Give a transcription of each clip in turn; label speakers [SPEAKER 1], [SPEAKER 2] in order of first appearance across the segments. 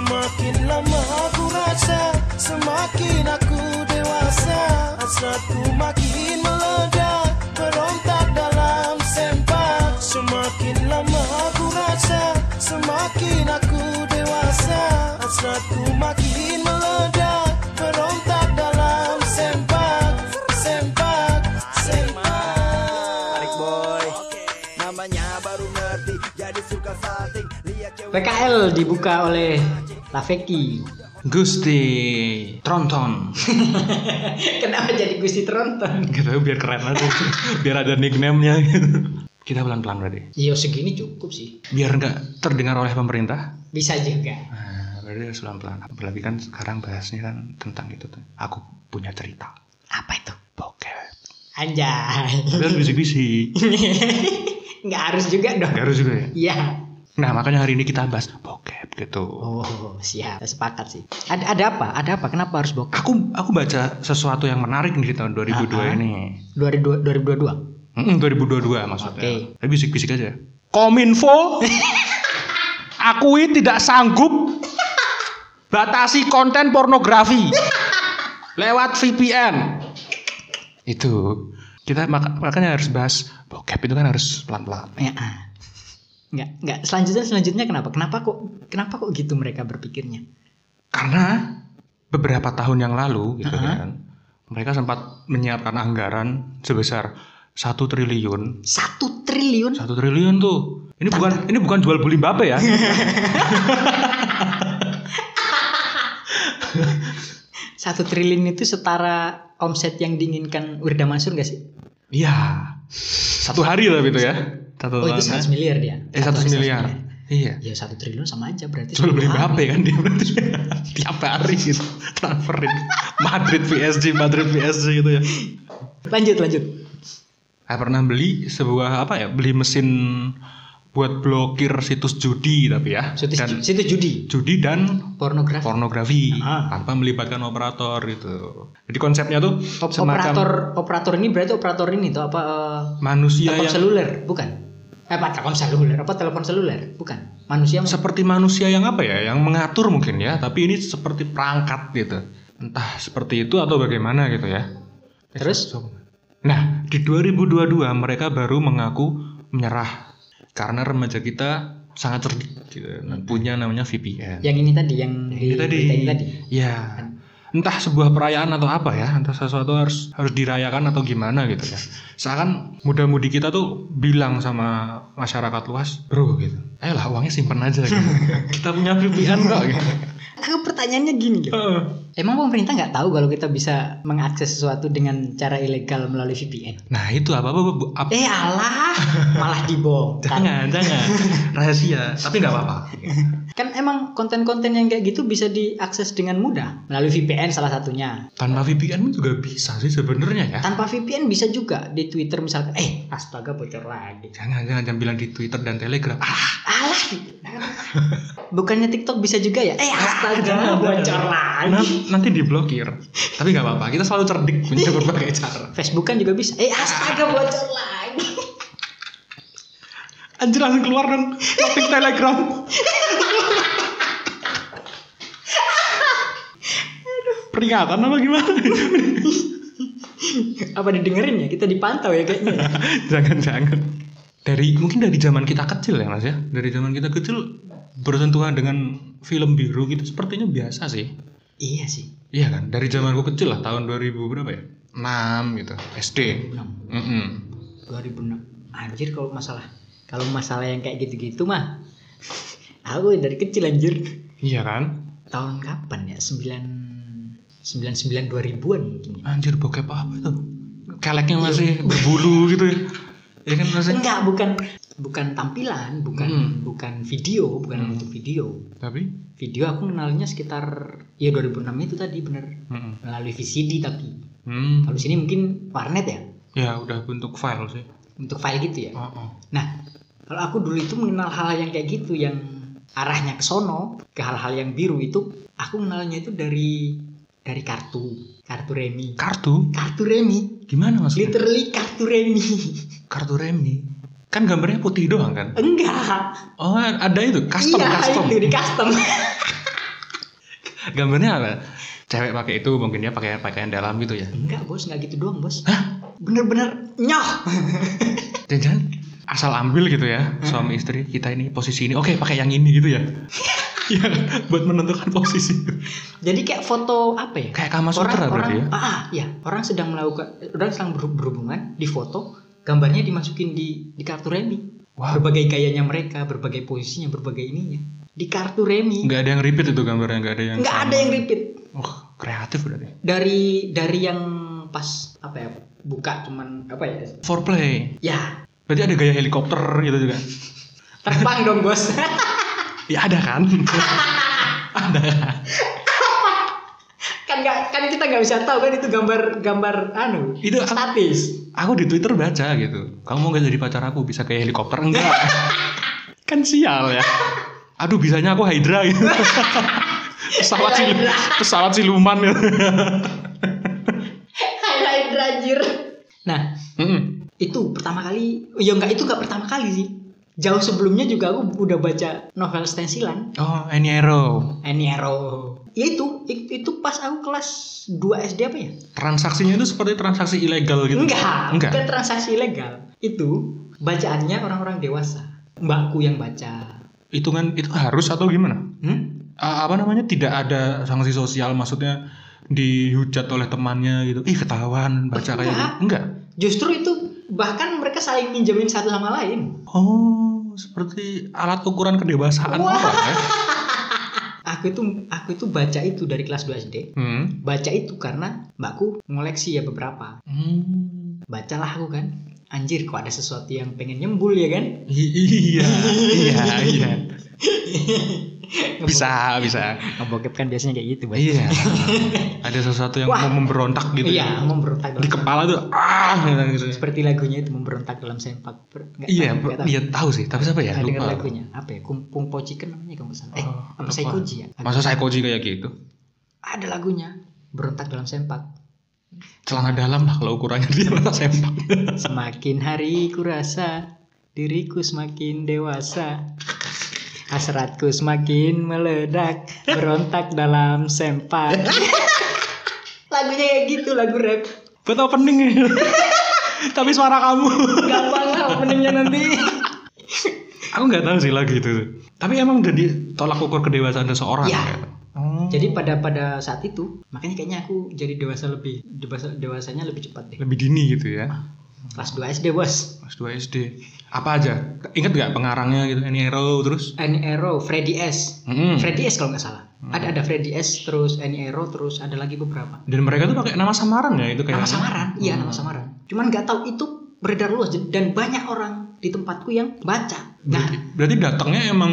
[SPEAKER 1] Semakin lama aku rasa Semakin aku dewasa Hasratku makin meledak Berontak dalam sempak Semakin lama aku rasa Semakin aku dewasa Hasratku makin meledak Berontak dalam sempak Sempak Sempak
[SPEAKER 2] Tarik boy Namanya baru ngerti Jadi suka salting Lihat cewek
[SPEAKER 3] PKL dibuka oleh Lafeki.
[SPEAKER 4] Gusti Tronton
[SPEAKER 3] Kenapa jadi Gusti Tronton?
[SPEAKER 4] gitu biar keren aja biar ada nickname-nya gitu. kita pelan-pelan berarti
[SPEAKER 3] Yo Iya, segini cukup sih.
[SPEAKER 4] biar nggak terdengar oleh pemerintah
[SPEAKER 3] Bisa juga.
[SPEAKER 4] nah, berarti harus pelan-pelan apalagi kan sekarang bahasnya kan tentang itu tuh aku punya cerita
[SPEAKER 3] Apa itu?
[SPEAKER 4] bokep
[SPEAKER 3] Anjay.
[SPEAKER 4] tapi harus bisik-bisik
[SPEAKER 3] Nggak harus juga dong.
[SPEAKER 4] Nggak harus juga ya
[SPEAKER 3] Iya.
[SPEAKER 4] nah makanya hari ini kita bahas bokep gitu
[SPEAKER 3] Oh, siap. Sepakat sih. Ada, ada apa? Ada apa? Kenapa harus bokep?
[SPEAKER 4] aku aku baca sesuatu yang menarik nih di tahun 2002
[SPEAKER 3] Aha.
[SPEAKER 4] ini
[SPEAKER 3] 2002 2022.
[SPEAKER 4] Mm-mm, 2022 maksudnya
[SPEAKER 3] Oke.
[SPEAKER 4] tapi bisik-bisik aja kominfo akui tidak sanggup batasi konten pornografi lewat VPN itu kita maka- makanya harus bahas bokep itu kan harus pelan-pelan
[SPEAKER 3] Ya. ah. Nggak, nggak. Selanjutnya selanjutnya kenapa? Kenapa kok kenapa kok gitu mereka berpikirnya?
[SPEAKER 4] karena beberapa tahun yang lalu gitu
[SPEAKER 3] Aha.
[SPEAKER 4] kan mereka sempat menyiapkan anggaran sebesar satu triliun
[SPEAKER 3] Satu triliun.
[SPEAKER 4] satu triliun tuh ini bukan ini bukan jual beli Mbappe ya
[SPEAKER 3] Satu triliun itu setara omset yang diinginkan Wirda Mansur nggak sih?
[SPEAKER 4] iya satu hari lah gitu ya satu
[SPEAKER 3] Oh itu
[SPEAKER 4] tahun,
[SPEAKER 3] 100 miliar dia.
[SPEAKER 4] ya. eh satu
[SPEAKER 3] hari
[SPEAKER 4] miliar iya
[SPEAKER 3] Ya satu triliun sama aja berarti.
[SPEAKER 4] jual beli
[SPEAKER 3] satu hari.
[SPEAKER 4] Mbappe kan dia berarti tiap hari gitu transferin Madrid PSG Madrid PSG gitu ya
[SPEAKER 3] Lanjut lanjut.
[SPEAKER 4] saya pernah beli sebuah apa ya beli mesin buat blokir situs judi tapi ya
[SPEAKER 3] Situ,
[SPEAKER 4] dan
[SPEAKER 3] situ judi,
[SPEAKER 4] judi dan
[SPEAKER 3] pornografi.
[SPEAKER 4] pornografi
[SPEAKER 3] Ah.
[SPEAKER 4] tanpa melibatkan operator gitu. Jadi konsepnya tuh
[SPEAKER 3] Op- operator
[SPEAKER 4] semacam
[SPEAKER 3] operator ini berarti operator ini tuh apa? eh,
[SPEAKER 4] manusia
[SPEAKER 3] telepon
[SPEAKER 4] yang
[SPEAKER 3] seluler bukan? Eh, apa telepon seluler? Apa telepon seluler? Bukan. Manusia
[SPEAKER 4] seperti manusia yang apa ya, yang mengatur mungkin ya, tapi ini seperti perangkat gitu. Entah seperti itu atau bagaimana gitu ya.
[SPEAKER 3] Terus?
[SPEAKER 4] Nah, di 2022 mereka baru mengaku menyerah karena remaja kita sangat cerdik gitu, dan punya namanya VPN.
[SPEAKER 3] yang ini tadi yang di-
[SPEAKER 4] ini tadi.
[SPEAKER 3] diceritain Iya, tadi.
[SPEAKER 4] Ya. Entah sebuah perayaan atau apa ya, entah sesuatu harus harus dirayakan atau gimana gitu ya. Seakan muda-mudi kita tuh bilang sama masyarakat luas, bro gitu. Ayolah uangnya simpen aja gitu. kita punya VPN kok gitu.
[SPEAKER 3] Aku pertanyaannya gini loh.
[SPEAKER 4] Heeh.
[SPEAKER 3] Emang pemerintah nggak tahu kalau kita bisa mengakses sesuatu dengan cara ilegal melalui VPN?
[SPEAKER 4] Nah itu apa apa, bu- apa-
[SPEAKER 3] Eh alah, malah dibongkar.
[SPEAKER 4] jangan jangan rahasia tapi nggak apa-apa
[SPEAKER 3] Kan emang konten-konten yang kayak gitu bisa diakses dengan mudah melalui VPN salah satunya.
[SPEAKER 4] tanpa VPN pun juga bisa sih sebenarnya ya
[SPEAKER 3] Tanpa VPN bisa juga di Twitter misalkan, eh astaga bocor lagi.
[SPEAKER 4] jangan jangan jangan bilang di Twitter dan Telegram ah
[SPEAKER 3] Alah. gitu. Bukannya TikTok bisa juga ya? Eh astaga bocor lagi.
[SPEAKER 4] nan- Nah, nanti diblokir tapi nggak apa-apa kita selalu cerdik punya berbagai cara
[SPEAKER 3] Facebook kan juga bisa. Eh astaga bocor lagi.
[SPEAKER 4] Anjir langsung keluar dong topik telegram Peringatan apa gimana?
[SPEAKER 3] Apa didengerin ya? Kita dipantau ya kayaknya.
[SPEAKER 4] Jangan-jangan Dari mungkin dari zaman kita kecil ya mas ya Dari zaman kita kecil bersentuhan dengan film biru gitu sepertinya biasa sih
[SPEAKER 3] iya sih.
[SPEAKER 4] Iya kan? Dari zaman gua kecil lah tahun 2000 berapa ya? 6 gitu SD
[SPEAKER 3] Enam,
[SPEAKER 4] Mm-mm.
[SPEAKER 3] 2006. Anjir kalau masalah kalau masalah yang kayak gitu-gitu mah aku dari kecil anjir.
[SPEAKER 4] Iya kan?
[SPEAKER 3] Tahun kapan ya? 9 99 2000-an mungkin ya.
[SPEAKER 4] Anjir bokep apa itu? Keleknya masih berbulu gitu ya Iya kan masih
[SPEAKER 3] enggak bukan bukan tampilan bukan
[SPEAKER 4] Hmm.
[SPEAKER 3] bukan video bukan
[SPEAKER 4] Hmm.
[SPEAKER 3] untuk video
[SPEAKER 4] Tapi
[SPEAKER 3] video aku kenalnya sekitar ya 2006 itu tadi bener
[SPEAKER 4] mm-mm.
[SPEAKER 3] melalui VCD tapi
[SPEAKER 4] Hmm.
[SPEAKER 3] kalau di sini mungkin warnet ya
[SPEAKER 4] Ya udah bentuk file sih.
[SPEAKER 3] untuk file gitu ya
[SPEAKER 4] Oh, oh.
[SPEAKER 3] nah kalau aku dulu itu mengenal hal yang kayak gitu yang arahnya ke sono ke hal-hal yang biru itu aku kenalnya itu dari dari kartu kartu remi
[SPEAKER 4] Kartu?
[SPEAKER 3] kartu remi
[SPEAKER 4] Gimana maksudnya?
[SPEAKER 3] literally kartu remi
[SPEAKER 4] Kartu remi. Kan gambarnya putih doang kan?
[SPEAKER 3] enggak
[SPEAKER 4] Oh, ada itu custom
[SPEAKER 3] iya
[SPEAKER 4] custom.
[SPEAKER 3] itu di custom
[SPEAKER 4] Gambarnya apa? Cewek pakai itu mungkin dia pakai pakaian dalam gitu ya.
[SPEAKER 3] Enggak bos, enggak gitu doang bos. Bener-bener nyoh.
[SPEAKER 4] Jangan asal ambil gitu ya suami istri kita ini posisi ini. Oke pakai yang ini gitu ya. Iya, buat menentukan posisi.
[SPEAKER 3] Jadi kayak foto apa ya?
[SPEAKER 4] Kayak Kama Sutra berarti ya?
[SPEAKER 3] Ah, ah, iya. orang sedang melakukan, orang sedang berhu- berhubungan di foto, gambarnya dimasukin di di kartu remi.
[SPEAKER 4] Wah.
[SPEAKER 3] Berbagai gayanya mereka, berbagai posisinya, berbagai ininya di kartu remi.
[SPEAKER 4] Nggak ada yang repeat itu gambarnya, nggak ada yang.
[SPEAKER 3] Nggak ada yang repeat.
[SPEAKER 4] Oh, kreatif berarti.
[SPEAKER 3] Dari dari yang pas apa ya? Buka cuman apa ya?
[SPEAKER 4] Foreplay.
[SPEAKER 3] Ya,
[SPEAKER 4] Berarti ada gaya helikopter gitu juga.
[SPEAKER 3] terbang dong bos.
[SPEAKER 4] Ya ada kan?
[SPEAKER 3] kan nggak kan kita nggak bisa tahu kan itu gambar gambar anu
[SPEAKER 4] Itu aku-
[SPEAKER 3] statis.
[SPEAKER 4] aku di Twitter baca gitu. Kamu mau gak jadi pacar aku bisa kayak helikopter enggak? kan sial ya. Aduh bisanya aku Hydra gitu. pesawat sil
[SPEAKER 3] Hydra.
[SPEAKER 4] pesawat siluman gitu.
[SPEAKER 3] Highlight anjir. Nah,
[SPEAKER 4] Mm-mm.
[SPEAKER 3] itu pertama kali ya nggak itu nggak pertama kali sih jauh sebelumnya juga aku udah baca novel stensilan
[SPEAKER 4] Oh, Annie Arrow.
[SPEAKER 3] Annie Arrow ya itu i- itu pas aku kelas 2 SD apa ya
[SPEAKER 4] Transaksinya itu seperti transaksi ilegal gitu.
[SPEAKER 3] enggak
[SPEAKER 4] Enggak.
[SPEAKER 3] bukan transaksi ilegal itu bacaannya orang-orang dewasa mbakku yang baca
[SPEAKER 4] Hitungan itu harus atau gimana?
[SPEAKER 3] hmm?
[SPEAKER 4] A- apa namanya? Tidak ada sanksi sosial maksudnya dihujat oleh temannya gitu. Ih, ketahuan baca kayak gitu.
[SPEAKER 3] Enggak.
[SPEAKER 4] Enggak.
[SPEAKER 3] justru itu bahkan mereka saling pinjemin satu sama lain
[SPEAKER 4] Oh, seperti alat ukuran kedewasaan
[SPEAKER 3] Wah.
[SPEAKER 4] orang ya.
[SPEAKER 3] aku itu aku itu baca itu dari kelas 2 SD
[SPEAKER 4] Hmm.
[SPEAKER 3] baca itu karena mbakku ngoleksi ya beberapa
[SPEAKER 4] Hmm.
[SPEAKER 3] bacalah aku kan anjir kok ada sesuatu yang pengen nyembul ya kan
[SPEAKER 4] I- iya, iya, iya. Bisa, bisa.
[SPEAKER 3] Ngebokep kan biasanya kayak gitu, Bang.
[SPEAKER 4] Iya. Ada sesuatu yang
[SPEAKER 3] Wah.
[SPEAKER 4] mau memberontak gitu.
[SPEAKER 3] Iya,
[SPEAKER 4] ya.
[SPEAKER 3] memberontak dalam
[SPEAKER 4] Di kepala tuh ah gitu. gitu.
[SPEAKER 3] seperti lagunya itu memberontak dalam sempak. Ber- nggak tahu,
[SPEAKER 4] Iya,
[SPEAKER 3] nggak tahu.
[SPEAKER 4] iya tahu sih, tapi siapa ya?
[SPEAKER 3] Nggak dengar
[SPEAKER 4] Lupa.
[SPEAKER 3] lagunya. Apa ya? Kumpung Pociken namanya kalau nggak salah. Eh,
[SPEAKER 4] Oh,
[SPEAKER 3] apa
[SPEAKER 4] lupa.
[SPEAKER 3] Saikoji ya? Ada-
[SPEAKER 4] Masa psikologi kayak gitu?
[SPEAKER 3] Ada lagunya. Berontak dalam sempak.
[SPEAKER 4] Celana dalam lah kalau ukurannya dia masa sempak.
[SPEAKER 3] Semakin hari ku rasa diriku semakin dewasa. Hasratku semakin meledak, berontak dalam sempak. Lagunya kayak gitu, lagu rap.
[SPEAKER 4] Buat opening ya. tapi suara kamu.
[SPEAKER 3] Gampang lah openingnya nanti.
[SPEAKER 4] Aku nggak tahu sih lagi itu. Tapi emang jadi tolak ukur kedewasaan seseorang.
[SPEAKER 3] Iya.
[SPEAKER 4] kan? Oh.
[SPEAKER 3] Jadi pada pada saat itu, makanya kayaknya aku jadi dewasa lebih dewasa dewasanya lebih cepat deh.
[SPEAKER 4] lebih dini gitu ya.
[SPEAKER 3] Kelas 2 SD, Bos.
[SPEAKER 4] Kelas 2 SD. Apa aja? Ingat nggak pengarangnya gitu? Any Arrow terus?
[SPEAKER 3] Any Arrow, Freddy S.
[SPEAKER 4] Mm-mm.
[SPEAKER 3] Freddy S kalau nggak salah. Ada ada Freddy S, terus Any Arrow, terus ada lagi beberapa.
[SPEAKER 4] Dan mereka tuh pakai nama samaran ya itu kayak.
[SPEAKER 3] Nama samaran, iya
[SPEAKER 4] Hmm.
[SPEAKER 3] nama samaran. Cuman nggak tahu itu beredar luas dan banyak orang di tempatku yang baca.
[SPEAKER 4] Berarti,
[SPEAKER 3] Nah,
[SPEAKER 4] berarti datangnya emang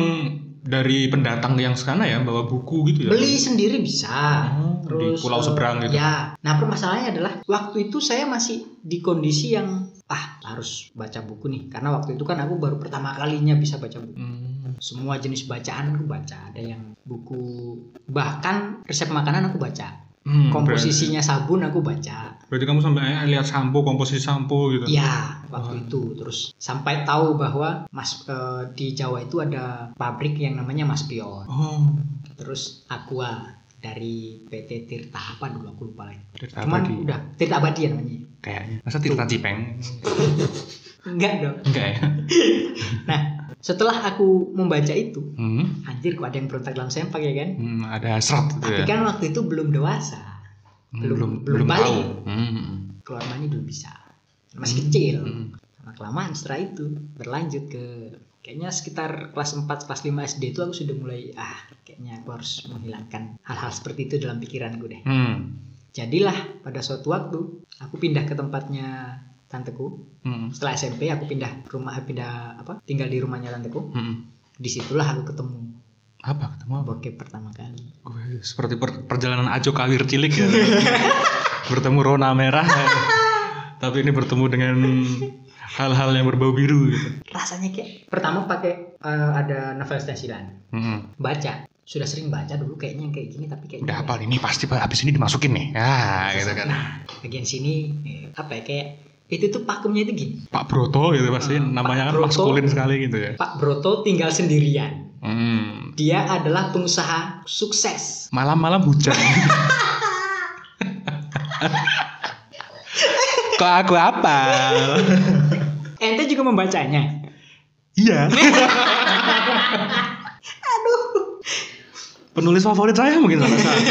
[SPEAKER 4] dari pendatang yang sana ya bawa buku gitu ya.
[SPEAKER 3] beli sendiri bisa.
[SPEAKER 4] Oh, di pulau
[SPEAKER 3] eh,
[SPEAKER 4] seberang gitu.
[SPEAKER 3] Ya. Nah, permasalahannya adalah waktu itu saya masih di kondisi yang ah harus baca buku nih karena waktu itu kan aku baru pertama kalinya bisa baca buku.
[SPEAKER 4] Hmm.
[SPEAKER 3] semua jenis bacaan aku baca ada yang buku bahkan resep makanan aku baca
[SPEAKER 4] Hmm,
[SPEAKER 3] komposisinya sabun aku baca
[SPEAKER 4] Berarti, berarti kamu sampai eh, lihat sampo, komposisi sampo gitu.
[SPEAKER 3] ya waktu itu terus sampai tahu bahwa mas eh, di Jawa itu ada pabrik yang namanya Mas Pion
[SPEAKER 4] Oh.
[SPEAKER 3] terus Aqua dari PT Tirta apa dulu aku lupa lagi
[SPEAKER 4] Tirta
[SPEAKER 3] cuman
[SPEAKER 4] Abadi.
[SPEAKER 3] udah Tirta Abadi ya namanya
[SPEAKER 4] Kayaknya. Masa Tirta Cipeng?
[SPEAKER 3] enggak dong
[SPEAKER 4] Enggak ya.
[SPEAKER 3] nah setelah aku membaca itu
[SPEAKER 4] Hmm.
[SPEAKER 3] anjir kok ada yang berontak dalam sempak ya kan
[SPEAKER 4] Hmm, ada serat gitu
[SPEAKER 3] tapi
[SPEAKER 4] ya.
[SPEAKER 3] kan waktu itu belum dewasa
[SPEAKER 4] Hmm,
[SPEAKER 3] belum- belum
[SPEAKER 4] belum tahu.
[SPEAKER 3] balik.
[SPEAKER 4] Hmm.
[SPEAKER 3] keluar mandi belum bisa masih kecil
[SPEAKER 4] Hmm.
[SPEAKER 3] lama kelamaan setelah itu berlanjut ke kayaknya sekitar kelas 4 kelas 5 SD itu aku sudah mulai ah kayaknya aku harus menghilangkan hal-hal seperti itu dalam pikiranku deh
[SPEAKER 4] Hmm.
[SPEAKER 3] jadilah pada suatu waktu aku pindah ke tempatnya tanteku
[SPEAKER 4] Hmm.
[SPEAKER 3] setelah SMP aku pindah ke rumah pindah apa tinggal di rumahnya tanteku
[SPEAKER 4] Hmm.
[SPEAKER 3] disitulah aku ketemu
[SPEAKER 4] Apa ketemu apa?
[SPEAKER 3] bokep pertama kali
[SPEAKER 4] Gue seperti per- perjalanan Ajo Kawir cilik ya. bertemu Rona merah. tapi ini bertemu dengan hal-hal yang berbau biru gitu.
[SPEAKER 3] rasanya kayak pertama pakai eh, ada novel stensilan
[SPEAKER 4] Mm-mm.
[SPEAKER 3] baca sudah sering baca dulu kayaknya yang kayak gini tapi kayaknya
[SPEAKER 4] Hmm. Udah hafal ini pasti Pak, habis ini dimasukin nih. Ah, gitu kan.
[SPEAKER 3] Nah, bagian sini eh, apa ya kayak itu tuh pakemnya itu gini.
[SPEAKER 4] Pak Broto gitu pasti
[SPEAKER 3] Hmm, Pak
[SPEAKER 4] namanya kan
[SPEAKER 3] Broto.
[SPEAKER 4] maskulin sekali gitu ya.
[SPEAKER 3] Pak Broto tinggal sendirian.
[SPEAKER 4] Hmm.
[SPEAKER 3] Dia adalah pengusaha sukses.
[SPEAKER 4] Malam-malam hujan. Kok aku apa?
[SPEAKER 3] Ente juga membacanya.
[SPEAKER 4] iya. Penulis favorit saya mungkin salah satu.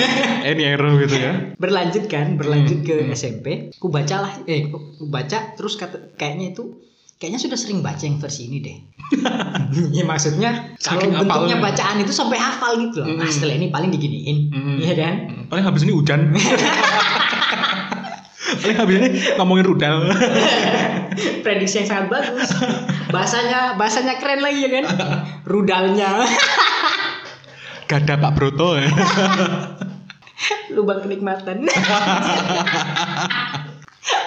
[SPEAKER 4] Any error gitu ya.
[SPEAKER 3] Berlanjut kan, berlanjut
[SPEAKER 4] Hmm,
[SPEAKER 3] ke
[SPEAKER 4] hmm.
[SPEAKER 3] SMP. Ku bacalah, eh, ku baca terus kata, kayaknya itu kayaknya sudah sering baca yang versi ini deh. ya maksudnya kalau
[SPEAKER 4] Saking
[SPEAKER 3] bentuknya
[SPEAKER 4] hafalnya.
[SPEAKER 3] bacaan itu sampai hafal gitu loh. Nah,
[SPEAKER 4] Hmm.
[SPEAKER 3] setelah ini paling diginiin,
[SPEAKER 4] Hmm.
[SPEAKER 3] iya kan?
[SPEAKER 4] Hmm, Paling habis ini hujan. Paling habis ini ngomongin rudal.
[SPEAKER 3] prediksi yang sangat bagus. Bahasanya bahasanya keren lagi ya kan? Rudalnya,
[SPEAKER 4] Gada Pak Broto ya.
[SPEAKER 3] lubang kenikmatan.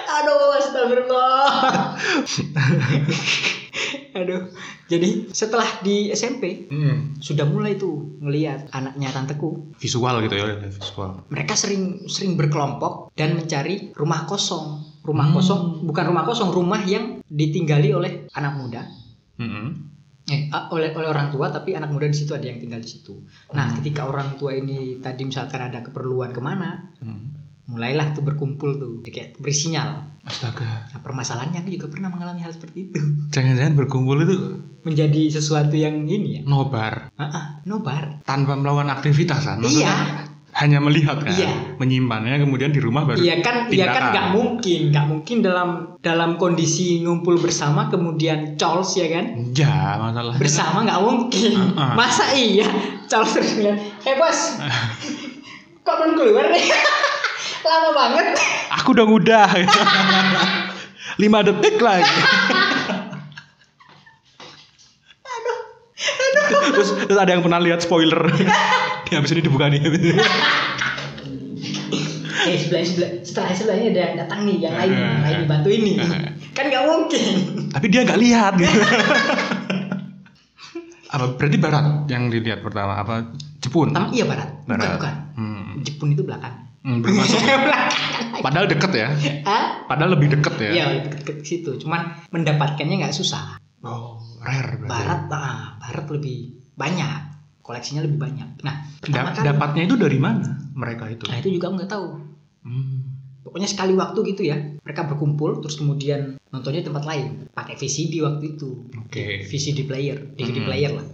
[SPEAKER 3] Aduh, astagfirullah. Aduh. Jadi setelah di SMP
[SPEAKER 4] Hmm,
[SPEAKER 3] sudah mulai tuh ngelihat anaknya tanteku.
[SPEAKER 4] Visual gitu ya, visual.
[SPEAKER 3] Mereka sering sering berkelompok dan mencari rumah kosong. Rumah
[SPEAKER 4] Hmm.
[SPEAKER 3] kosong bukan rumah kosong, rumah yang ditinggali oleh anak muda
[SPEAKER 4] Hmm.
[SPEAKER 3] eh, a- oleh oleh orang tua tapi anak muda di situ ada yang tinggal di situ. Nah, ketika orang tua ini tadi misalkan ada keperluan kemana,
[SPEAKER 4] Hmm.
[SPEAKER 3] mulailah tuh berkumpul tuh, kayak beri sinyal.
[SPEAKER 4] Astaga.
[SPEAKER 3] Nah, permasalahannya aku juga pernah mengalami hal seperti itu.
[SPEAKER 4] Jangan-jangan berkumpul itu
[SPEAKER 3] Menjadi sesuatu yang ini ya.
[SPEAKER 4] nobar
[SPEAKER 3] Ah, ah, nobar.
[SPEAKER 4] tanpa melakukan aktivitas kan? Maksudnya
[SPEAKER 3] Iya.
[SPEAKER 4] Hanya melihat kan,
[SPEAKER 3] Iya.
[SPEAKER 4] menyimpannya kemudian di rumah baru.
[SPEAKER 3] Iya kan, iya kan
[SPEAKER 4] tindakan.
[SPEAKER 3] nggak mungkin, nggak mungkin dalam dalam kondisi ngumpul bersama kemudian cols ya kan?
[SPEAKER 4] Iya, masalahnya.
[SPEAKER 3] bersama nggak mungkin
[SPEAKER 4] Ah, ah.
[SPEAKER 3] masa iya calon terus bilang hey bos kok belum keluar nih lama banget
[SPEAKER 4] Aku udah udah. Lima detik lagi. terus, terus ada yang pernah lihat spoiler. Di habis ini dibuka nih.
[SPEAKER 3] eh sebelah sebelah setelah sebelahnya ada yang datang nih yang lain yang
[SPEAKER 4] Ah.
[SPEAKER 3] lain dibantu ini
[SPEAKER 4] Ah.
[SPEAKER 3] kan nggak mungkin
[SPEAKER 4] Tapi dia nggak lihat gitu. apa berarti barat yang dilihat pertama apa Jepun?
[SPEAKER 3] pertama iya barat bukan
[SPEAKER 4] Barat.
[SPEAKER 3] bukan
[SPEAKER 4] Hmm.
[SPEAKER 3] Jepun itu belakang
[SPEAKER 4] Hmm, belum masuk. Padahal deket ya.
[SPEAKER 3] ah
[SPEAKER 4] Padahal lebih deket ya.
[SPEAKER 3] iya deket deket situ cuman mendapatkannya nggak susah
[SPEAKER 4] Oh, rare berarti.
[SPEAKER 3] barat ah barat lebih banyak koleksinya lebih banyak nah pertama
[SPEAKER 4] Da-
[SPEAKER 3] kali
[SPEAKER 4] dapatnya itu dari mana mereka itu?
[SPEAKER 3] nah itu juga aku nggak tahu
[SPEAKER 4] Hmm.
[SPEAKER 3] Pokoknya sekali waktu gitu ya, mereka berkumpul terus kemudian nontonnya di tempat lain pakai VCD waktu itu.
[SPEAKER 4] Oke.
[SPEAKER 3] VCD player, DVD
[SPEAKER 4] Hmm.
[SPEAKER 3] player lah.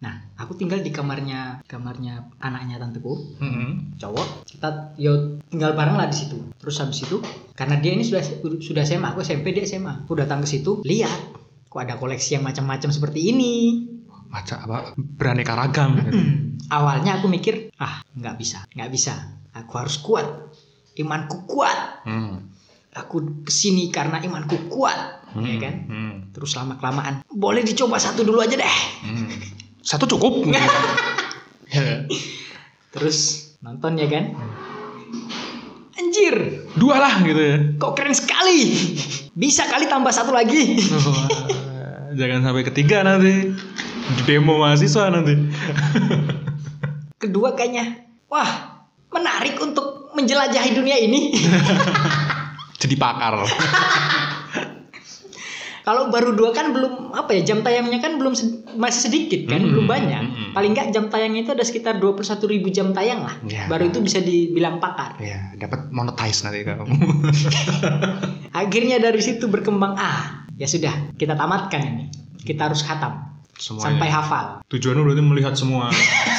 [SPEAKER 3] Nah, aku tinggal di kamarnya kamarnya anaknya tanteku,
[SPEAKER 4] Mm-mm.
[SPEAKER 3] cowok. Kita yo tinggal bareng lah di situ. Terus habis itu karena dia ini sudah sudah SMA, aku SMP dia SMA. Aku datang ke situ, lihat kok ada koleksi yang macam-macam seperti ini.
[SPEAKER 4] Macam apa? Beraneka ragam. gitu.
[SPEAKER 3] Hmm, Awalnya aku mikir, ah, nggak bisa, nggak bisa. Aku harus kuat. Imanku kuat.
[SPEAKER 4] Hmm.
[SPEAKER 3] aku kesini karena imanku kuat
[SPEAKER 4] Hmm.
[SPEAKER 3] ya kan
[SPEAKER 4] Hmm.
[SPEAKER 3] terus lama kelamaan boleh dicoba satu dulu aja deh
[SPEAKER 4] Hmm. Satu cukup. gitu. Ya.
[SPEAKER 3] terus nonton ya kan anjir
[SPEAKER 4] Dua lah gitu ya.
[SPEAKER 3] kok keren sekali bisa kali tambah satu lagi
[SPEAKER 4] Jangan sampai ketiga nanti. Demo mahasiswa nanti.
[SPEAKER 3] kedua kayaknya wah menarik untuk menjelajahi dunia ini
[SPEAKER 4] Jadi pakar.
[SPEAKER 3] kalau baru dua kan belum apa ya jam tayangnya kan belum sed- masih sedikit kan
[SPEAKER 4] Mm-mm,
[SPEAKER 3] belum banyak
[SPEAKER 4] mm-mm.
[SPEAKER 3] paling nggak jam tayangnya itu ada sekitar 21.000 ribu jam tayang lah
[SPEAKER 4] Ya.
[SPEAKER 3] baru itu bisa dibilang pakar
[SPEAKER 4] ya, dapat monetize nanti kamu.
[SPEAKER 3] Akhirnya dari situ berkembang ah ya sudah kita tamatkan ini kita harus khatam
[SPEAKER 4] Semuanya.
[SPEAKER 3] sampai hafal.
[SPEAKER 4] Tujuannya berarti melihat semua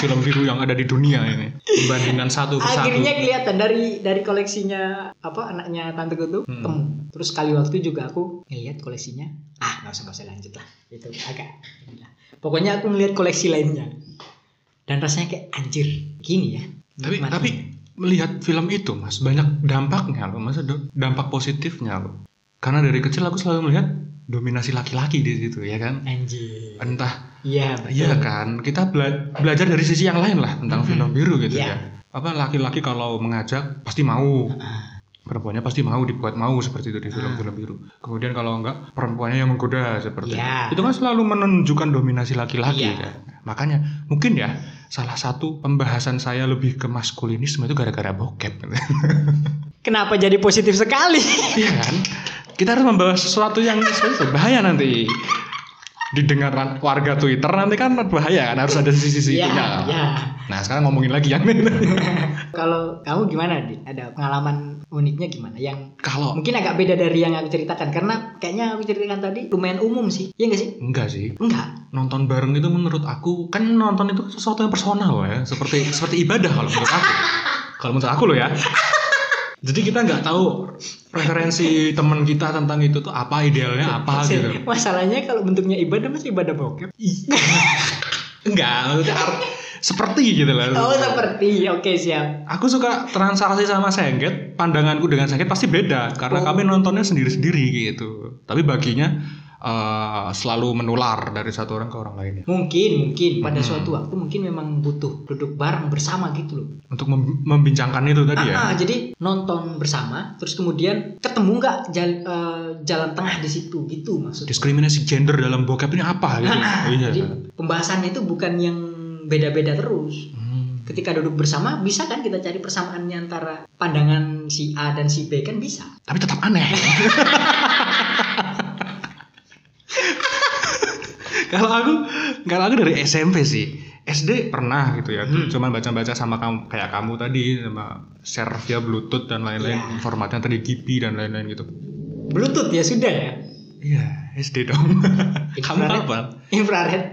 [SPEAKER 4] film biru yang ada di dunia ini. Perbandingan satu persatu.
[SPEAKER 3] Akhirnya kelihatan dari dari koleksinya apa anaknya tante gue tuh
[SPEAKER 4] Hmm.
[SPEAKER 3] temu. Terus sekali waktu juga aku ngelihat koleksinya ah nggak usah nggak usah lanjut lah itu agak. inilah. Pokoknya aku ngelihat koleksi lainnya dan rasanya kayak anjir gini ya.
[SPEAKER 4] Tapi
[SPEAKER 3] nikmatnya.
[SPEAKER 4] tapi melihat film itu mas banyak dampaknya loh mas ada dampak positifnya loh. Karena dari kecil aku selalu melihat dominasi laki-laki di situ ya kan.
[SPEAKER 3] anjir.
[SPEAKER 4] Entah
[SPEAKER 3] Iya betul.
[SPEAKER 4] iya kan kita bela- belajar dari sisi yang lain lah tentang
[SPEAKER 3] Mhm.
[SPEAKER 4] film biru gitu
[SPEAKER 3] Iya.
[SPEAKER 4] ya. Apa laki-laki kalau mengajak pasti mau.
[SPEAKER 3] Ah,
[SPEAKER 4] Perempuannya pasti mau dibuat mau seperti itu di film-film biru. Kemudian kalau enggak perempuannya yang menggoda seperti
[SPEAKER 3] Iya.
[SPEAKER 4] itu. Itu kan selalu menunjukkan dominasi
[SPEAKER 3] Iya.
[SPEAKER 4] laki-laki kan. Makanya mungkin ya salah satu pembahasan saya lebih ke maskulinisme itu gara-gara bokep.
[SPEAKER 3] Kenapa jadi positif sekali?
[SPEAKER 4] Iya kan? Kita harus membahas sesuatu yang serius, bahaya nanti. didengar ran- warga Twitter nanti kan bahaya kan harus ada sisi-sisi
[SPEAKER 3] Iya,
[SPEAKER 4] itunya.
[SPEAKER 3] iya.
[SPEAKER 4] Nah sekarang ngomongin lagi yang
[SPEAKER 3] Kalau kamu gimana, Dit? Ada pengalaman uniknya gimana? Yang
[SPEAKER 4] kalau
[SPEAKER 3] mungkin agak beda dari yang aku ceritakan karena kayaknya aku ceritakan tadi lumayan umum sih. Iya nggak sih?
[SPEAKER 4] enggak sih
[SPEAKER 3] Enggak.
[SPEAKER 4] nonton bareng itu menurut aku kan nonton itu sesuatu yang personal ya seperti seperti ibadah kalau menurut aku kalau menurut aku loh ya jadi kita nggak tahu referensi teman kita tentang itu tuh apa idealnya apa gitu Iya,
[SPEAKER 3] Masalahnya kalau bentuknya ibadah masih ibadah bokep.
[SPEAKER 4] enggak maksudnya art- seperti gitu lah
[SPEAKER 3] Oh, seperti. Oke, siap.
[SPEAKER 4] aku suka transaksi sama Sengket pandanganku dengan Sengket pasti beda karena
[SPEAKER 3] Oh.
[SPEAKER 4] kami nontonnya sendiri-sendiri gitu tapi baginya eh, selalu menular dari satu orang ke orang lainnya
[SPEAKER 3] Mungkin, mungkin pada
[SPEAKER 4] Hmm.
[SPEAKER 3] suatu waktu mungkin memang butuh duduk bareng bersama gitu loh.
[SPEAKER 4] untuk mem- membincangkan itu tadi ya
[SPEAKER 3] Ah, ah, jadi nonton bersama, terus kemudian ketemu nggak jal- eh, jalan tengah di situ gitu maksudnya.
[SPEAKER 4] diskriminasi gender dalam bokep ini apa gitu iya
[SPEAKER 3] Jadi pembahasannya itu bukan yang beda-beda terus.
[SPEAKER 4] Hmm.
[SPEAKER 3] Ketika duduk bersama bisa kan kita cari persamaannya antara pandangan si A dan si B kan bisa.
[SPEAKER 4] tapi tetap aneh kalau aku kalau aku dari SMP sih SD pernah gitu ya
[SPEAKER 3] Hmm.
[SPEAKER 4] cuman baca-baca sama kamu kayak kamu tadi sama share via bluetooth dan lain-lain
[SPEAKER 3] Iya.
[SPEAKER 4] formatnya tadi Gibi dan lain-lain gitu
[SPEAKER 3] Bluetooth ya sudah ya.
[SPEAKER 4] iya SD dong kamu
[SPEAKER 3] Infrared.
[SPEAKER 4] apa
[SPEAKER 3] Infrared.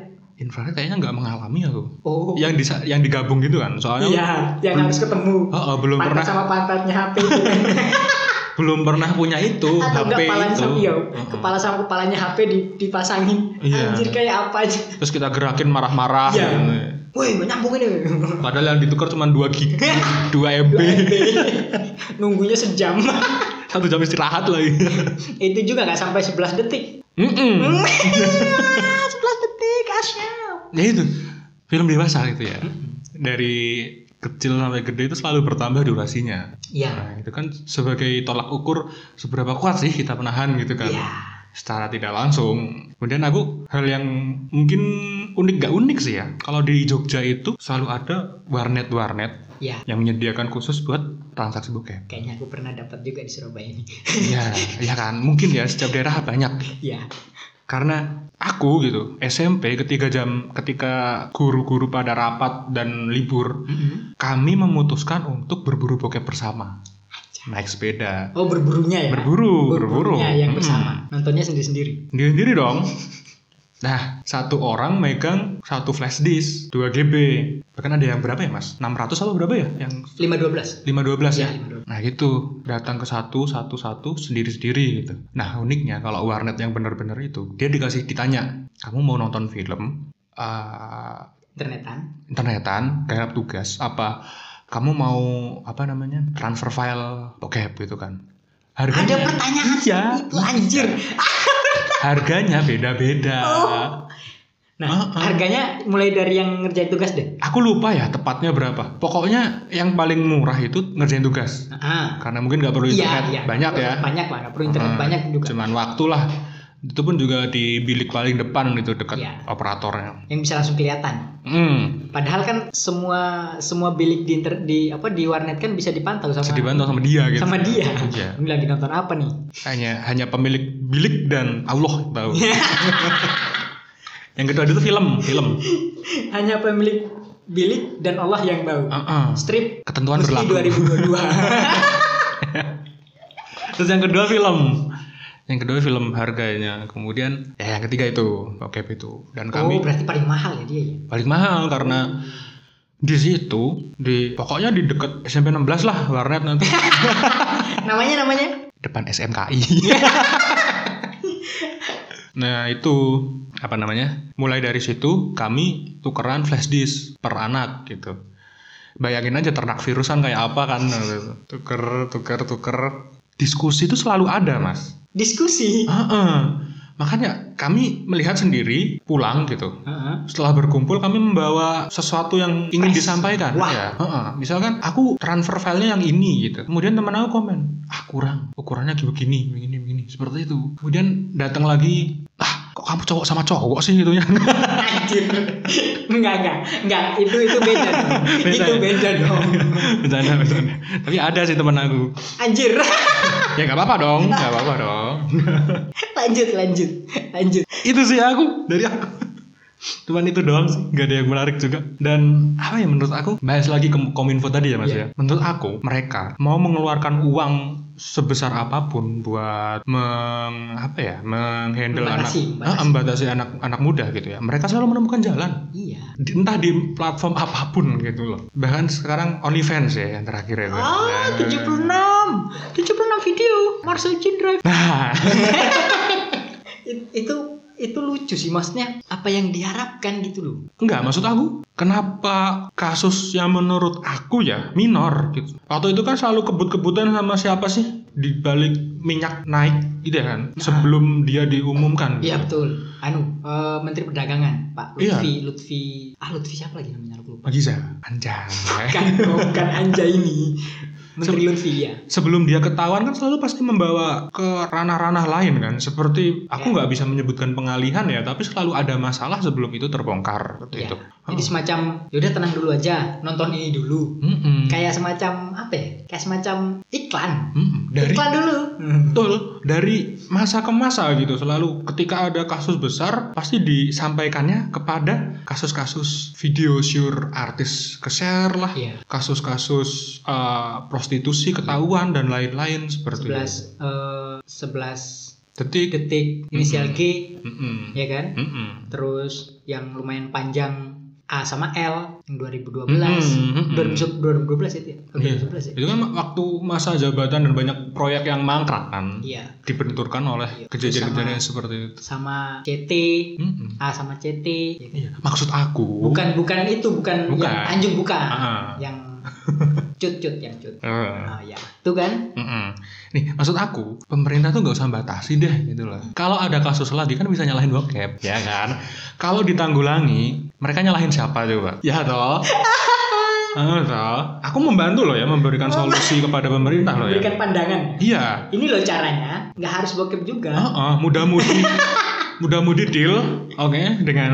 [SPEAKER 4] infrared kayaknya nggak mengalami aku
[SPEAKER 3] Oh.
[SPEAKER 4] yang disa- yang digabung gitu kan soalnya
[SPEAKER 3] Iya, yang harus ketemu.
[SPEAKER 4] Oh, oh, belum
[SPEAKER 3] Pantat
[SPEAKER 4] pernah
[SPEAKER 3] sama pantatnya HP. gitu.
[SPEAKER 4] belum pernah punya itu
[SPEAKER 3] Atau
[SPEAKER 4] HP
[SPEAKER 3] enggak kepalanya
[SPEAKER 4] Oh, itu
[SPEAKER 3] sama iya,
[SPEAKER 4] Mm-mm.
[SPEAKER 3] kepala sama kepalanya HP di- dipasangin.
[SPEAKER 4] Iya.
[SPEAKER 3] Anjir kayak apa aja.
[SPEAKER 4] terus kita gerakin marah-marah
[SPEAKER 3] Iya.
[SPEAKER 4] gitu.
[SPEAKER 3] Woi, nggak nyambung ini.
[SPEAKER 4] padahal yang ditukar cuma 2 gig 2 MB
[SPEAKER 3] Nunggunya sejam.
[SPEAKER 4] satu jam istirahat iya. lagi
[SPEAKER 3] Itu juga nggak sampai 11 detik.
[SPEAKER 4] Mm-mm.
[SPEAKER 3] 11 detik, asyik.
[SPEAKER 4] ya itu film dewasa gitu ya dari kecil sampai gede itu selalu bertambah durasinya
[SPEAKER 3] Iya.
[SPEAKER 4] nah itu kan sebagai tolak ukur seberapa kuat sih kita menahan gitu kan
[SPEAKER 3] Iya.
[SPEAKER 4] secara tidak langsung. Kemudian aku hal yang mungkin unik gak unik sih ya. Kalau di Jogja itu selalu ada warnet-warnet
[SPEAKER 3] Iya.
[SPEAKER 4] yang menyediakan khusus buat transaksi bokep.
[SPEAKER 3] Kayaknya aku pernah dapat juga di Surabaya ini.
[SPEAKER 4] Iya, ya kan. Mungkin ya setiap daerah banyak.
[SPEAKER 3] Iya.
[SPEAKER 4] Karena aku gitu SMP ketika jam ketika guru-guru pada rapat dan libur,
[SPEAKER 3] Mm-hmm.
[SPEAKER 4] kami memutuskan untuk berburu bokep bersama. Naik sepeda.
[SPEAKER 3] Oh, berburunya ya.
[SPEAKER 4] Berburu, berburu. Hmm.
[SPEAKER 3] Berburunya yang
[SPEAKER 4] Mm-mm.
[SPEAKER 3] bersama. Nontonnya sendiri-sendiri.
[SPEAKER 4] Sendiri-sendiri dong. Nah, satu orang megang satu flash disk, 2 GB. Bahkan ada yang berapa ya, Mas? 600 apa berapa ya? Yang
[SPEAKER 3] 512.
[SPEAKER 4] 512
[SPEAKER 3] Iya,
[SPEAKER 4] ya?
[SPEAKER 3] 512.
[SPEAKER 4] Nah, gitu. Datang ke satu, satu, satu, sendiri-sendiri gitu. Nah, uniknya kalau warnet yang bener-bener itu, dia dikasih ditanya, kamu mau nonton film, eh,
[SPEAKER 3] Internetan.
[SPEAKER 4] internetan, daerah tugas, apa kamu mau apa namanya transfer file bokep gitu kan?
[SPEAKER 3] Ada
[SPEAKER 4] Harganya,
[SPEAKER 3] pertanyaan
[SPEAKER 4] Iya.
[SPEAKER 3] itu anjir.
[SPEAKER 4] harganya beda-beda.
[SPEAKER 3] Oh. Nah,
[SPEAKER 4] Ah, ah.
[SPEAKER 3] harganya mulai dari yang ngerjain tugas deh.
[SPEAKER 4] Aku lupa ya tepatnya berapa. Pokoknya yang paling murah itu ngerjain tugas.
[SPEAKER 3] Ah.
[SPEAKER 4] Karena mungkin nggak perlu internet banyak ya.
[SPEAKER 3] Banyak lah, nggak iya. perlu internet
[SPEAKER 4] Hmm,
[SPEAKER 3] banyak juga.
[SPEAKER 4] Cuman waktu lah. Itu pun juga di bilik paling depan itu dekat
[SPEAKER 3] Iya.
[SPEAKER 4] operatornya.
[SPEAKER 3] Yang bisa langsung kelihatan.
[SPEAKER 4] Hmm.
[SPEAKER 3] Padahal kan semua semua bilik di inter- di apa di warnet kan bisa dipantau sama
[SPEAKER 4] Sedih banget sama dia gitu.
[SPEAKER 3] sama dia.
[SPEAKER 4] Iya.
[SPEAKER 3] Ini lagi nonton apa nih?
[SPEAKER 4] Hanya hanya pemilik bilik dan Allah tahu. yang kedua itu film, film.
[SPEAKER 3] Hanya pemilik bilik dan Allah yang tahu.
[SPEAKER 4] Heeh.
[SPEAKER 3] Strip
[SPEAKER 4] Ah, Uh-uh. Ketentuan
[SPEAKER 3] Musti
[SPEAKER 4] berlaku.
[SPEAKER 3] 2022.
[SPEAKER 4] Terus yang kedua film. Yang kedua film harganya. Kemudian ya yang ketiga itu bokep itu. Dan
[SPEAKER 3] oh,
[SPEAKER 4] kami
[SPEAKER 3] berarti paling mahal ya dia ya.
[SPEAKER 4] paling mahal karena di situ di pokoknya di dekat SMP 16 lah warnet nanti
[SPEAKER 3] Namanya namanya?
[SPEAKER 4] depan SMKI. nah itu apa namanya? Mulai dari situ kami tukeran flash disk per anak gitu. Bayangin aja ternak virusan kayak apa kan? Tuker, tuker, tuker. Diskusi itu selalu ada mas.
[SPEAKER 3] Diskusi.
[SPEAKER 4] Heeh. Makanya kami melihat sendiri pulang gitu
[SPEAKER 3] Heeh.
[SPEAKER 4] setelah berkumpul kami membawa sesuatu yang ingin
[SPEAKER 3] Fresh.
[SPEAKER 4] disampaikan
[SPEAKER 3] Wah.
[SPEAKER 4] Ya, heeh. misalkan aku transfer filenya yang ini gitu kemudian teman aku komen ah kurang ukurannya kayak begini begini begini seperti itu kemudian datang lagi ah kok kamu cowok sama cowok sih Gitu ya. gitunya
[SPEAKER 3] Anjir. enggak, enggak. Enggak, itu itu beda dong.
[SPEAKER 4] Beda
[SPEAKER 3] itu
[SPEAKER 4] ya?
[SPEAKER 3] beda dong.
[SPEAKER 4] bercanda bercanda tapi ada sih teman aku
[SPEAKER 3] Anjir.
[SPEAKER 4] ya nggak apa-apa dong nggak apa-apa dong
[SPEAKER 3] lanjut lanjut lanjut
[SPEAKER 4] itu sih aku dari aku cuman itu doang sih nggak ada yang menarik juga dan apa ya menurut aku bahas lagi ke kominfo tadi ya mas
[SPEAKER 3] Iya.
[SPEAKER 4] ya menurut aku mereka mau mengeluarkan uang sebesar apapun buat meng apa ya menghandle anak
[SPEAKER 3] Membatasi, membatasi.
[SPEAKER 4] Ah, membatasi anak anak muda gitu ya mereka selalu menemukan jalan
[SPEAKER 3] iya
[SPEAKER 4] Di- entah di platform apapun gitu loh bahkan sekarang OnlyFans ya yang terakhir ya Mas.
[SPEAKER 3] ah 76 76 video Marcel Jin Drive
[SPEAKER 4] nah
[SPEAKER 3] It- itu itu lucu sih maksudnya apa yang diharapkan gitu loh
[SPEAKER 4] Enggak, maksud aku, kenapa kasus yang menurut aku ya minor gitu. Waktu itu kan selalu kebut-kebutan sama siapa sih di balik minyak naik gitu ya kan sebelum dia diumumkan.
[SPEAKER 3] Ah. Iya
[SPEAKER 4] gitu.
[SPEAKER 3] betul. Anu eh, Menteri Perdagangan Pak Lutfi
[SPEAKER 4] Iya.
[SPEAKER 3] Lutfi ah Lutfi siapa lagi namanya aku lupa.
[SPEAKER 4] Bagi saya, anjay.
[SPEAKER 3] Bukan bukan Anja ini. Menteri Lutfi ya.
[SPEAKER 4] Sebelum dia ketahuan kan selalu pasti membawa ke ranah-ranah lain kan. Seperti
[SPEAKER 3] Iya.
[SPEAKER 4] aku nggak bisa menyebutkan pengalihan ya, tapi selalu ada masalah sebelum itu terbongkar seperti
[SPEAKER 3] Iya.
[SPEAKER 4] itu. Oh.
[SPEAKER 3] Jadi semacam yaudah tenang dulu aja nonton ini dulu.
[SPEAKER 4] Mm-mm.
[SPEAKER 3] Kayak semacam apa ya? Kayak semacam iklan.
[SPEAKER 4] Mm-mm. dari Hmm.
[SPEAKER 3] Iklan dulu.
[SPEAKER 4] Betul, dari masa ke masa gitu selalu ketika ada kasus besar pasti disampaikannya kepada kasus-kasus video syur artis ke-share lah,
[SPEAKER 3] Iya.
[SPEAKER 4] kasus-kasus uh, prostitusi ketahuan dan lain-lain seperti itu.
[SPEAKER 3] 11 eh, 11
[SPEAKER 4] Detik.
[SPEAKER 3] Iya. detik inisial
[SPEAKER 4] Mhm.
[SPEAKER 3] G
[SPEAKER 4] Mm-mm.
[SPEAKER 3] ya kan?
[SPEAKER 4] Mm-mm.
[SPEAKER 3] Terus yang lumayan panjang A sama L yang 2012
[SPEAKER 4] Mhm, mhm.
[SPEAKER 3] 2012 itu ya? Atau
[SPEAKER 4] Iya.
[SPEAKER 3] 2011 ya?
[SPEAKER 4] Itu kan waktu masa jabatan dan banyak proyek yang mangkrak kan
[SPEAKER 3] Iya.
[SPEAKER 4] dibenturkan oleh
[SPEAKER 3] Iya.
[SPEAKER 4] kejadian-kejadian
[SPEAKER 3] Sama-
[SPEAKER 4] seperti itu.
[SPEAKER 3] sama CT
[SPEAKER 4] Mm-mm.
[SPEAKER 3] A sama CT ya kan?
[SPEAKER 4] Iya. Maksud aku
[SPEAKER 3] bukan bukan itu bukan,
[SPEAKER 4] Bukan.
[SPEAKER 3] yang anjing bukan
[SPEAKER 4] Ah.
[SPEAKER 3] yang cut cut yang cut
[SPEAKER 4] Eh.
[SPEAKER 3] ah ya itu kan
[SPEAKER 4] Mm-mm. Nih, maksud aku, pemerintah tuh nggak usah batasi deh gitu loh. Kalau ada kasus lagi kan bisa nyalahin bokep, ya kan? Kalau ditanggulangi, mereka nyalahin siapa coba? Ya toh. Ah, toh. Aku membantu loh ya memberikan solusi kepada pemerintah loh ya.
[SPEAKER 3] memberikan pandangan
[SPEAKER 4] Iya.
[SPEAKER 3] ini loh caranya nggak harus bokep juga
[SPEAKER 4] Heeh, mudah-mudi mudah-mudi deal, oke, dengan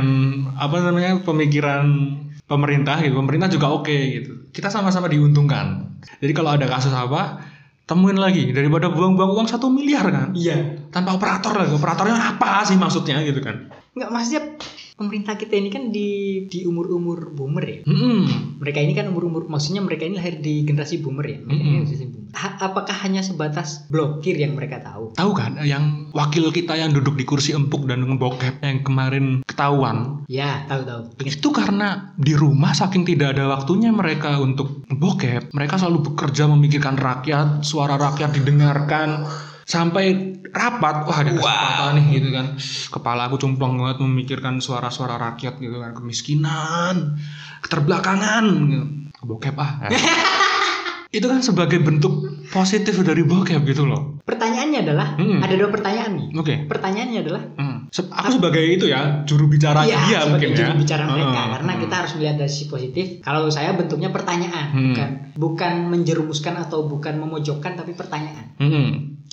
[SPEAKER 4] apa namanya pemikiran pemerintah gitu. Pemerintah juga oke gitu. Kita sama-sama diuntungkan. Jadi kalau ada kasus apa, temuin lagi daripada buang-buang uang satu miliar kan
[SPEAKER 3] iya
[SPEAKER 4] tanpa operator lagi operatornya apa sih maksudnya gitu kan
[SPEAKER 3] nggak maksudnya pemerintah kita ini kan di di umur umur boomer ya
[SPEAKER 4] Mm-mm.
[SPEAKER 3] mereka ini kan umur umur maksudnya mereka ini lahir di generasi boomer ya Mereka ini
[SPEAKER 4] Mm-mm.
[SPEAKER 3] generasi boomer. Ha- apakah hanya sebatas blokir yang mereka tahu
[SPEAKER 4] tahu kan yang wakil kita yang duduk di kursi empuk dan ngebokep yang kemarin ketahuan
[SPEAKER 3] ya tahu tahu
[SPEAKER 4] itu karena di rumah saking tidak ada waktunya mereka untuk bokep mereka selalu bekerja memikirkan rakyat suara rakyat didengarkan sampai rapat wah ada kesempatan nih gitu kan kepala aku cumplong banget memikirkan suara-suara rakyat gitu kan kemiskinan keterbelakangan gitu. bokep ah itu kan sebagai bentuk positif dari bokep gitu loh
[SPEAKER 3] pertanyaannya adalah
[SPEAKER 4] Mm.
[SPEAKER 3] ada dua pertanyaan nih
[SPEAKER 4] oke
[SPEAKER 3] pertanyaannya adalah
[SPEAKER 4] Hmm. Se- aku sebagai itu ya juru bicara
[SPEAKER 3] Iya,
[SPEAKER 4] dia
[SPEAKER 3] sebagai
[SPEAKER 4] mungkin ya
[SPEAKER 3] juru bicara mereka
[SPEAKER 4] Hmm,
[SPEAKER 3] karena
[SPEAKER 4] hmm.
[SPEAKER 3] kita harus melihat dari sisi positif. Kalau saya bentuknya pertanyaan,
[SPEAKER 4] Hmm.
[SPEAKER 3] bukan bukan menjerumuskan atau bukan memojokkan tapi pertanyaan.
[SPEAKER 4] Hmm,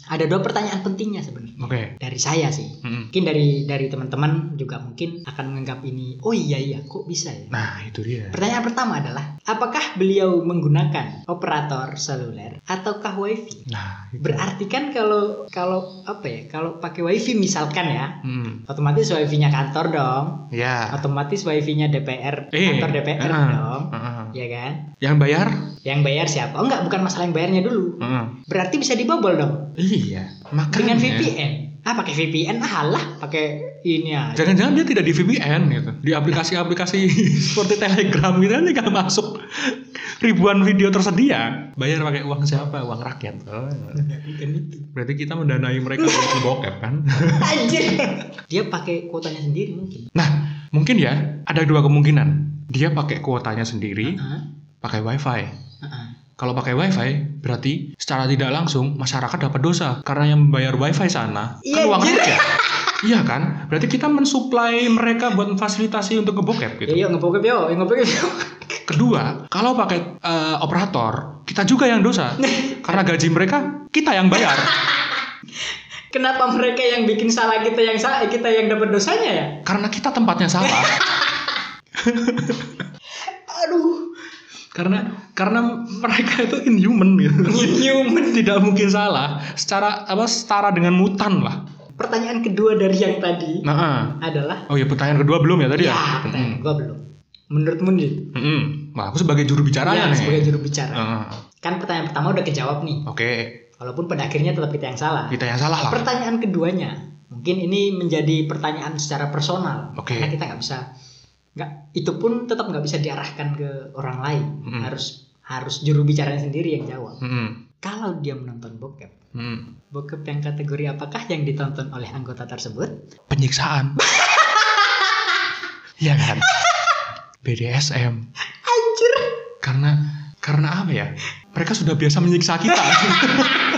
[SPEAKER 3] Ada dua pertanyaan pentingnya sebenarnya
[SPEAKER 4] oke
[SPEAKER 3] dari saya sih.
[SPEAKER 4] Hmm.
[SPEAKER 3] Mungkin dari dari teman-teman juga mungkin akan menganggap ini, oh iya iya, kok bisa ya?
[SPEAKER 4] nah itu dia
[SPEAKER 3] Pertanyaan pertama adalah, apakah beliau menggunakan operator seluler ataukah wifi?
[SPEAKER 4] nah itu.
[SPEAKER 3] Berarti kan kalau kalau apa ya? Kalau pakai wifi misalkan ya,
[SPEAKER 4] Hmm,
[SPEAKER 3] otomatis wifi-nya kantor dong.
[SPEAKER 4] ya
[SPEAKER 3] otomatis wifi-nya DPR
[SPEAKER 4] Eh,
[SPEAKER 3] kantor DPR
[SPEAKER 4] ah,
[SPEAKER 3] dong
[SPEAKER 4] ah.
[SPEAKER 3] ya kan
[SPEAKER 4] yang bayar
[SPEAKER 3] yang bayar siapa oh enggak bukan masalah yang bayarnya dulu
[SPEAKER 4] Hmm.
[SPEAKER 3] berarti bisa dibobol dong
[SPEAKER 4] iya makanya
[SPEAKER 3] dengan VPN ah pakai VPN ah lah pakai ini aja
[SPEAKER 4] jangan-jangan dia tidak di VPN gitu di aplikasi-aplikasi seperti Telegram gitu dia nggak masuk ribuan video tersedia bayar pakai uang siapa uang rakyat Oh. berarti kita mendanai mereka untuk bokep kan
[SPEAKER 3] anjir dia pakai kuotanya sendiri mungkin
[SPEAKER 4] nah mungkin ya ada dua kemungkinan dia pakai kuotanya sendiri
[SPEAKER 3] Heeh.
[SPEAKER 4] pakai wifi
[SPEAKER 3] Heeh.
[SPEAKER 4] kalau pakai wifi berarti secara tidak langsung masyarakat dapat dosa karena yang membayar wifi sana kan
[SPEAKER 3] Iya,
[SPEAKER 4] uang
[SPEAKER 3] anjir.
[SPEAKER 4] rakyat. iya kan berarti kita mensuplai mereka buat fasilitasi untuk ngebokep gitu
[SPEAKER 3] ya yuk ngepokep yuk yuk ngepokep yuk
[SPEAKER 4] Kedua, kalau pakai eh, operator, kita juga yang dosa. Karena gaji mereka kita yang bayar.
[SPEAKER 3] kenapa mereka yang bikin salah kita yang salah kita yang dapat dosanya ya
[SPEAKER 4] Karena kita tempatnya salah.
[SPEAKER 3] aduh
[SPEAKER 4] karena karena mereka itu inhuman gitu.
[SPEAKER 3] Inhuman.
[SPEAKER 4] Tidak mungkin salah. Secara apa setara dengan mutan lah.
[SPEAKER 3] Pertanyaan kedua dari yang tadi
[SPEAKER 4] Nah, ah.
[SPEAKER 3] adalah
[SPEAKER 4] oh ya pertanyaan kedua belum ya tadi ya?
[SPEAKER 3] Iya, pertanyaan gua belum. Menurutmu nih?
[SPEAKER 4] Mm. Mm-mm. Wah, aku sebagai juru bicara
[SPEAKER 3] ya,
[SPEAKER 4] nih.
[SPEAKER 3] sebagai juru bicara.
[SPEAKER 4] Ah,
[SPEAKER 3] Kan pertanyaan pertama udah kejawab nih.
[SPEAKER 4] Oke,
[SPEAKER 3] Walaupun pada akhirnya tetap kita yang salah.
[SPEAKER 4] kita yang salah lah.
[SPEAKER 3] Pertanyaan keduanya, mungkin ini menjadi pertanyaan secara personal.
[SPEAKER 4] Oke.
[SPEAKER 3] Karena kita nggak bisa, nggak itu pun tetap nggak bisa diarahkan ke orang lain.
[SPEAKER 4] Mm.
[SPEAKER 3] Harus harus juru bicaranya sendiri yang jawab.
[SPEAKER 4] Mm-mm.
[SPEAKER 3] Kalau dia menonton bokep,
[SPEAKER 4] Mm.
[SPEAKER 3] bokep yang kategori apakah yang ditonton oleh anggota tersebut?
[SPEAKER 4] Penyiksaan. Iya kan? BDSM.
[SPEAKER 3] Anjir,
[SPEAKER 4] Karena karena apa ya? Mereka sudah biasa menyiksa kita.